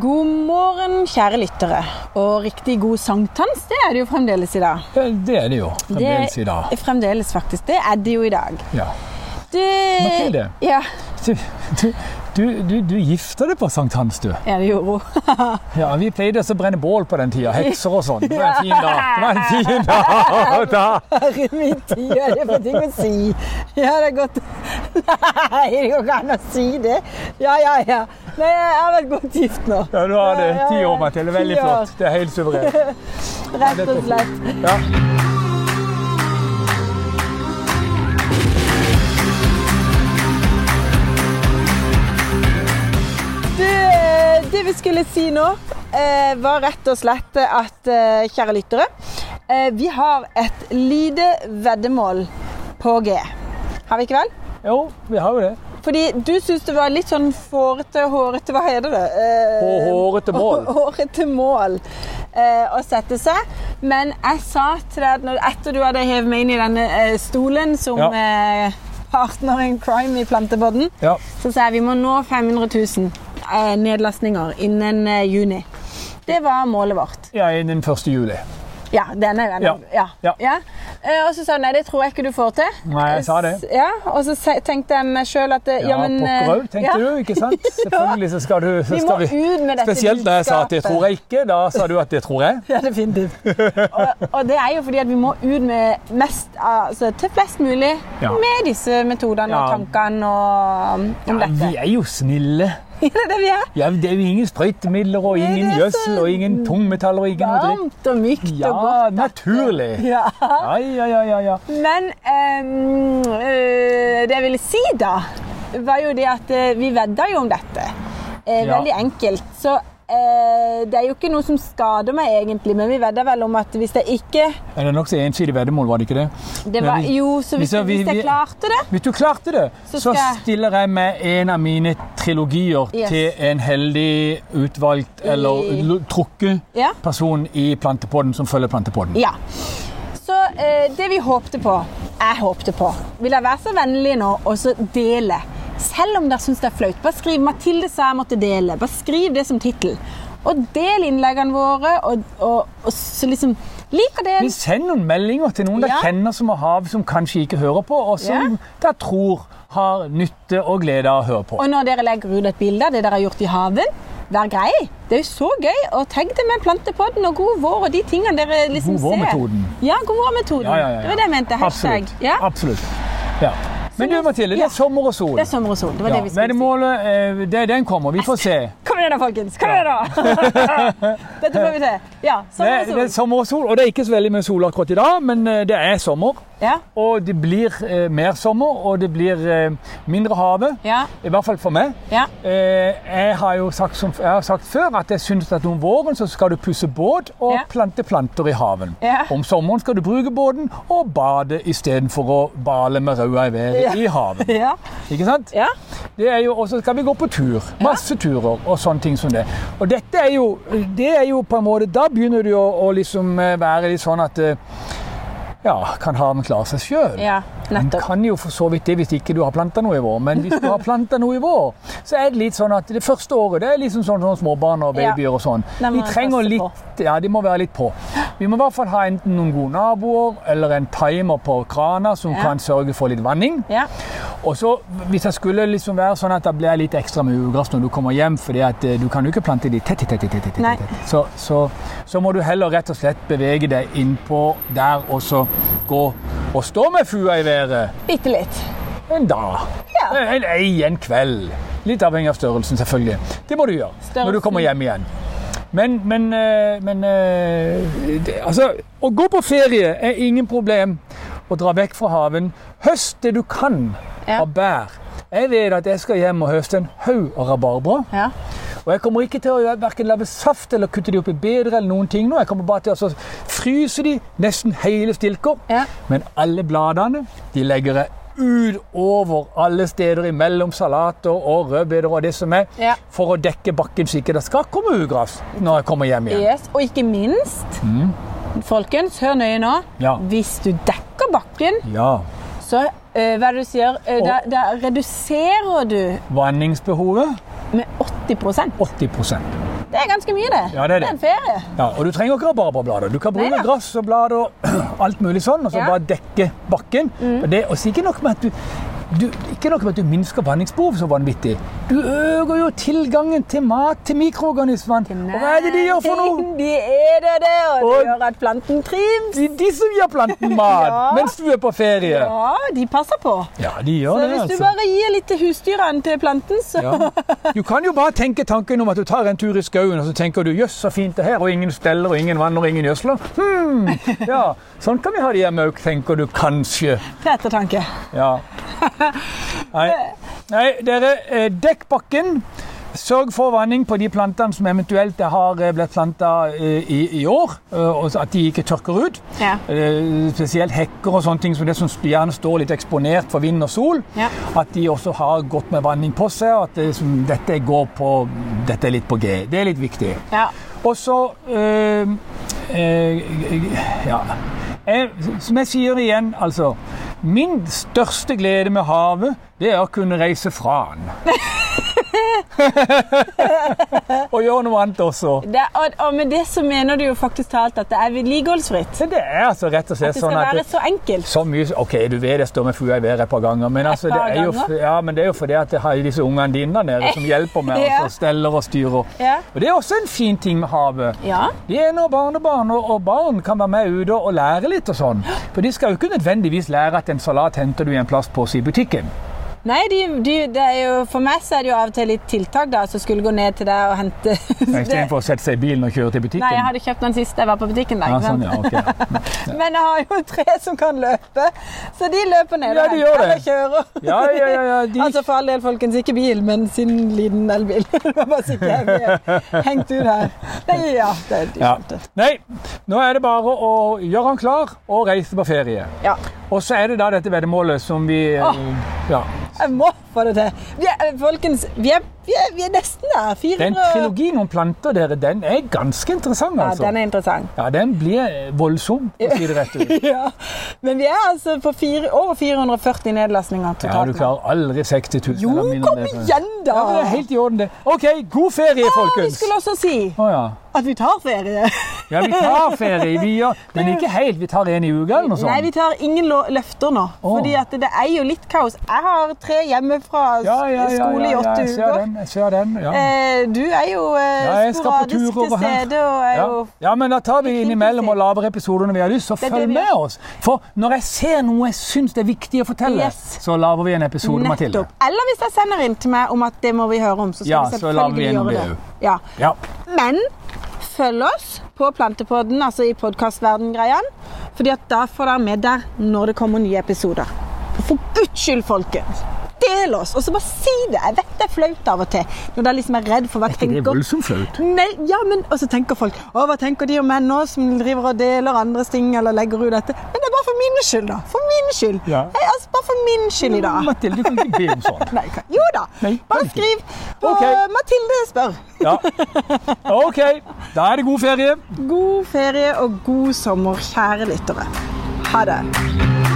God morgen, kjære lyttere. Og riktig god sankthans, det er det jo fremdeles i dag. Ja, Det er det jo. Fremdeles i dag. Det, fremdeles, faktisk. Det er det jo i dag. Ja. Du Hva er det? Ja, Du, du, du, du, du gifter deg på sankthans, du. ja det gjorde hun. Ja, Vi pleide å brenne bål på den tida. Hekser og sånn. Det var en fin dag. Det var en fin dag. da. Herre min tid, er det for ting å si? Ja, det er godt Nei, det går ikke an å si det. Ja, ja, ja. Nei, jeg har vært godt gift nå. Ja, du har det. Ja, ja, Ti ja. år, Mathilde. Veldig Ti år, flott. Det er helt suverent. Rett og slett. Ja. Det, det vi skulle si nå, eh, var rett og slett at, eh, kjære lyttere, eh, vi har et lite veddemål på G. Har vi ikke vel? Jo, vi har jo det. Fordi du syns det var litt sånn fårete, hårete Hva heter det? Eh, Hå- hårete mål. hå- Hårete mål eh, å sette seg. Men jeg sa til deg at når, etter du hadde hevet meg inn i denne eh, stolen som Ja. eh, partner in crime i Plantebodden, Ja. så sa jeg vi må nå 500 000 eh, nedlastninger innen eh, juni. Det var målet vårt. ja innen 1. juli. Ja, den er jo ennå. Ja. Ja. Ja. Eh, Og så sa hun nei, det tror jeg ikke du får til. Nei, jeg sa det. S- Ja, Og så se- tenkte jeg meg sjøl at eh, Ja, men, eh, pokker òg, tenkte ja. du. ikke sant? Selvfølgelig så skal du så Vi må skal vi. ut med dette Spesielt da jeg sa at det tror jeg ikke. Da sa du at det tror jeg. Ja, definitivt. og, og det er jo fordi at vi må ut med mest, altså, til flest mulig Ja. med disse metodene og Ja. tankene og, um, om dette. Vi er jo snille. Ja, det er det vi er. Ja, det er jo ingen sprøytemidler og Nei, ingen det er så gjødsel og ingen tungmetaller og ingen noe dritt. Varmt og mykt Ja, og godt. naturlig. Ja. Ja, ja, ja, ja, ja. Men ehm, øh, det jeg ville si da, var jo det at eh, vi vedda jo om dette. Eh, Ja. Veldig enkelt. Så eh, det er jo ikke noe som skader meg egentlig, men vi vedda vel om at hvis jeg ikke Men Det er nokså ensidig veddemål, var det ikke det? det Men var, vi- Jo, så hvis, hvis jeg- vi- hvis jeg vi- klarte det Hvis du klarte det, Så skal så, jeg- stiller jeg med en av mine trilogier Yes. til en heldig utvalgt eller lo- trukket Ja. person i plantepodden som følger plantepodden. Ja. Så eh, det vi håpte på, jeg håpte på, vil jeg være så vennlig nå og så dele. Selv om dere syns det er flaut. Bare skriv 'Mathilde sa jeg måtte dele'. Bare skriv det som tittel. Og del innleggene våre, og, og, og så liksom Lik og del. Men send noen meldinger til noen Ja. dere kjenner som har hav som kanskje ikke hører på, og som Ja. dere tror har nytte og glede av å høre på. Og når dere legger ut et bilde av det dere har gjort i haven, vær grei. Det er jo så gøy. Og tagg det med plantepodden og God vår og de tingene dere liksom God ser. vår-metoden. Ja, God vår-metoden. Ja, ja, ja, ja. Det var det jeg mente. Hashtag. Absolutt. Ja. Absolutt. Ja. Men nå- du, Mathilde, det ja. er sommer og sol. Det er sommer og sol. Det var Ja, det vi skulle si. Veddemålet, eh, det, den kommer. Vi får se. Kom igjen da, folkens! Kom igjen da! Dette får vi til. Ja, sånn sommer og Det, det er sol. sommer og sol, og det er ikke så veldig mye sol akkurat i dag, men eh, det er sommer. Ja. Og det blir eh, mer sommer, og det blir eh, mindre havet. Ja. I hvert fall for meg. Ja. Eh, jeg har jo sagt, som, jeg har sagt før at jeg syns at om våren så skal du pusse båt og Ja. plante planter i haven. Ja. Om sommeren skal du bruke båten og bade istedenfor å bale med røda i været Ja. i haven. Ja. Ikke sant? ja. Det er jo, og så skal vi gå på tur. Masse turer og sånne ting som det. Og dette er jo, det er jo på en måte Da begynner det jo å liksom eh, være litt sånn at eh, Ja, kan haven klare seg sjøl? Ja, Den nettopp. kan jo for så vidt det hvis ikke du har planta noe i vår, men hvis du har planta noe i vår, så er det litt sånn at det første året det er liksom sånn, sånn småbarn og Ja. babyer og sånn. Den må De man trenger passe litt Ja, de må være litt på. Vi må i hvert fall ha enten noen gode naboer eller en timer på krana som Ja. kan sørge for litt vanning. Ja. Og så, hvis jeg skulle liksom være sånn at det ble litt ekstra med ugress når du kommer hjem, fordi at eh, du kan jo ikke plante de tett, tett, tett, tett, tett, Nei. tett. Så, så, så må du heller rett og slett bevege deg innpå der og så gå og stå med fua i været Bitte litt. en dag. Eh, Ja. En ei, en kveld. Litt avhengig av størrelsen, selvfølgelig. Det må du gjøre når Størrelsen. du kommer hjem igjen. Men, men, eh, men eh, det, Altså, å gå på ferie er ingen problem. Å dra vekk fra haven. Høst det du kan Ja. av bær. Jeg vet at jeg skal hjem og høste en haug av rabarbra. Ja. Og jeg kommer ikke til å hverken lage saft eller kutte de opp i bedre eller noen ting nå. Jeg kommer bare til å så fryse de nesten hele stilker. Ja. Men alle bladene de legger jeg utover alle steder imellom salater og rødbeter og det som er, Ja. for å dekke bakken slik at det skal komme ugress når jeg kommer hjem igjen. Yes. Og ikke minst, folkens, hør nøye nå. Mm. Ja. Hvis du dekker bakken, Ja. så eh, hva er det du sier, Eh, da, da reduserer du Vanningsbehovet med 80 80 Det er ganske mye, det. Ja, det er det. en ferie. Ja, og du trenger ikke rabarberblader. Du kan bruke Neida. gress og blader og alt mulig sånn, og så Ja. Mm. bare dekke bakken. Og det, og så ikke nok med at du, du ikke nok med at du minsker vanningsbehov så vanvittig. Du øker jo tilgangen til mat, til mikroorganismene. Og hva er det de gjør for noe? De er det, det, og det Og- gjør at planten trives. De, de som gir planten mat Ja. mens du er på ferie. Ja, Ja, de passer på. de Så gjør det, hvis du altså. bare gir litt til husdyrene til planten, så Ja. Du kan jo bare tenke tanken om at du tar en tur i skauen og så tenker du, jøss, så fint det er her, og ingen steller, og ingen vann, og ingen gjødsler. Hmm. Ja, sånn kan vi ha de her mauk, tenker du kanskje. til ettertanke. Ja. Nei, Nei dere, eh, dekk bakken. Sørg for vanning på de plantene som eventuelt har eh, blitt planta eh, i, i år, eh, og så at de ikke tørker ut. Ja. Eh, Spesielt hekker og sånne ting som det som gjerne står litt eksponert for vind og sol. Ja. At de også har godt med vanning på seg, og at det, som, dette, går på, dette er litt på G. Det er litt viktig. Ja. Og så eh, eh, Ja. Jeg, som jeg sier igjen, altså Min største glede med havet, det er å kunne reise fra den. og gjøre noe annet også. Det, og, og med det så mener du jo faktisk talt at det er vedlikeholdsfritt. Så det er altså rett og slett Det skal sånn at være så enkelt. Så mye, ok, du vet jeg står med fua i været et par ganger, men, altså, det, par er jo, ganger? ja, men det er jo fordi at jeg har disse ungene dine der nede som hjelper meg Ja. og steller og styrer. Ja. Og det er også en fin ting med havet. Ja. Det er når barnebarn og, og barn kan være med ute og lære litt og sånn. For de skal jo ikke nødvendigvis lære at en salat henter du i en plastpose i butikken. Nei, de, de, det er jo, for meg så er det jo av og til litt tiltak da, som skulle gå ned til deg og hente Men Istedenfor å sette seg i bilen og kjøre til butikken. Nei, jeg hadde kjøpt den sist jeg var på butikken. Da, ja, ikke sant? sånn, ja, ok, ja. Men jeg har jo tre som kan løpe, så de løper ned Ja, og de henter gjør det. eller kjører. Ja, ja, ja, ja, de- Altså for all del, folkens, ikke bil, men sin liten elbil. Det var bare så ikke jeg ble hengt ut her. Nei, ja, det er de Ja. skjønte. Nei, nå er det bare å gjøre han klar og reise på ferie. Ja. Og så er det da dette veddemålet som vi eh, Åh. ja. Jeg må få det til. Vi er, eh, folkens, vi er, vi er, vi er nesten der. Den 400 trilogien om planter, dere, den er ganske interessant, Ja, altså. den er interessant. Ja, den blir voldsom, for å si det rett ut. Ja. Men vi er altså på fire, over 440 nedlastninger totalt. Ja, du nå. klarer aldri 60 000. Jo, eller mindre kom enn det. igjen, da! Ja, men det er helt i orden, det. OK, god ferie, Og vi folkens! skulle også si Å ja. at vi tar ferie. ja, vi tar ferie. Vi gjør, men ikke helt. Vi tar en i uka eller noe sånt. Nei, vi tar ingen lo- løfter nå. Åh. Fordi at det er jo litt kaos. Jeg har tre hjemme fra s- ja, ja, ja, ja, skole i ja, åtte jeg ser uker. den. Jeg ser den ja. Eh, Du er jo eh, Ja, jeg skal på tur sporadisk til over her. stede og er Ja. jo ja, men da tar vi innimellom og lager episoder når vi har lyst, så er det følg vi med gjør. oss. For når jeg ser noe jeg syns det er viktig å fortelle, Yes. så lager vi en episode, Mathilde. nettopp. Eller hvis jeg sender inn til meg om at det må vi høre om, så skal Ja, vi så lar selvfølgelig vi gjennom gjøre det det. Ja. Ja. Men følg oss på Plantepodden, altså i podkastverden-greiene. Fordi at da får dere med der når det kommer nye episoder. Og For guds skyld, folkens! Del oss! Og så bare si det! Jeg vet det er flaut av og til. Når dere liksom er redd for hva Det er tenker voldsomt flaut. Nei, ja, men Og så tenker folk Å, hva tenker de om meg nå som driver og deler andres ting eller legger ut dette? Men det er bare for min skyld, da. For min skyld. Ja. Hei, altså, bare for min skyld i dag. Mathilde, du kan ikke sånn. be om sånt. Nei, hva- jo da. Nei, Bare kan ikke. skriv på Ok. Mathilde spør. Ja. OK, da er det god ferie. God ferie og god sommer, kjære lyttere. Ha det.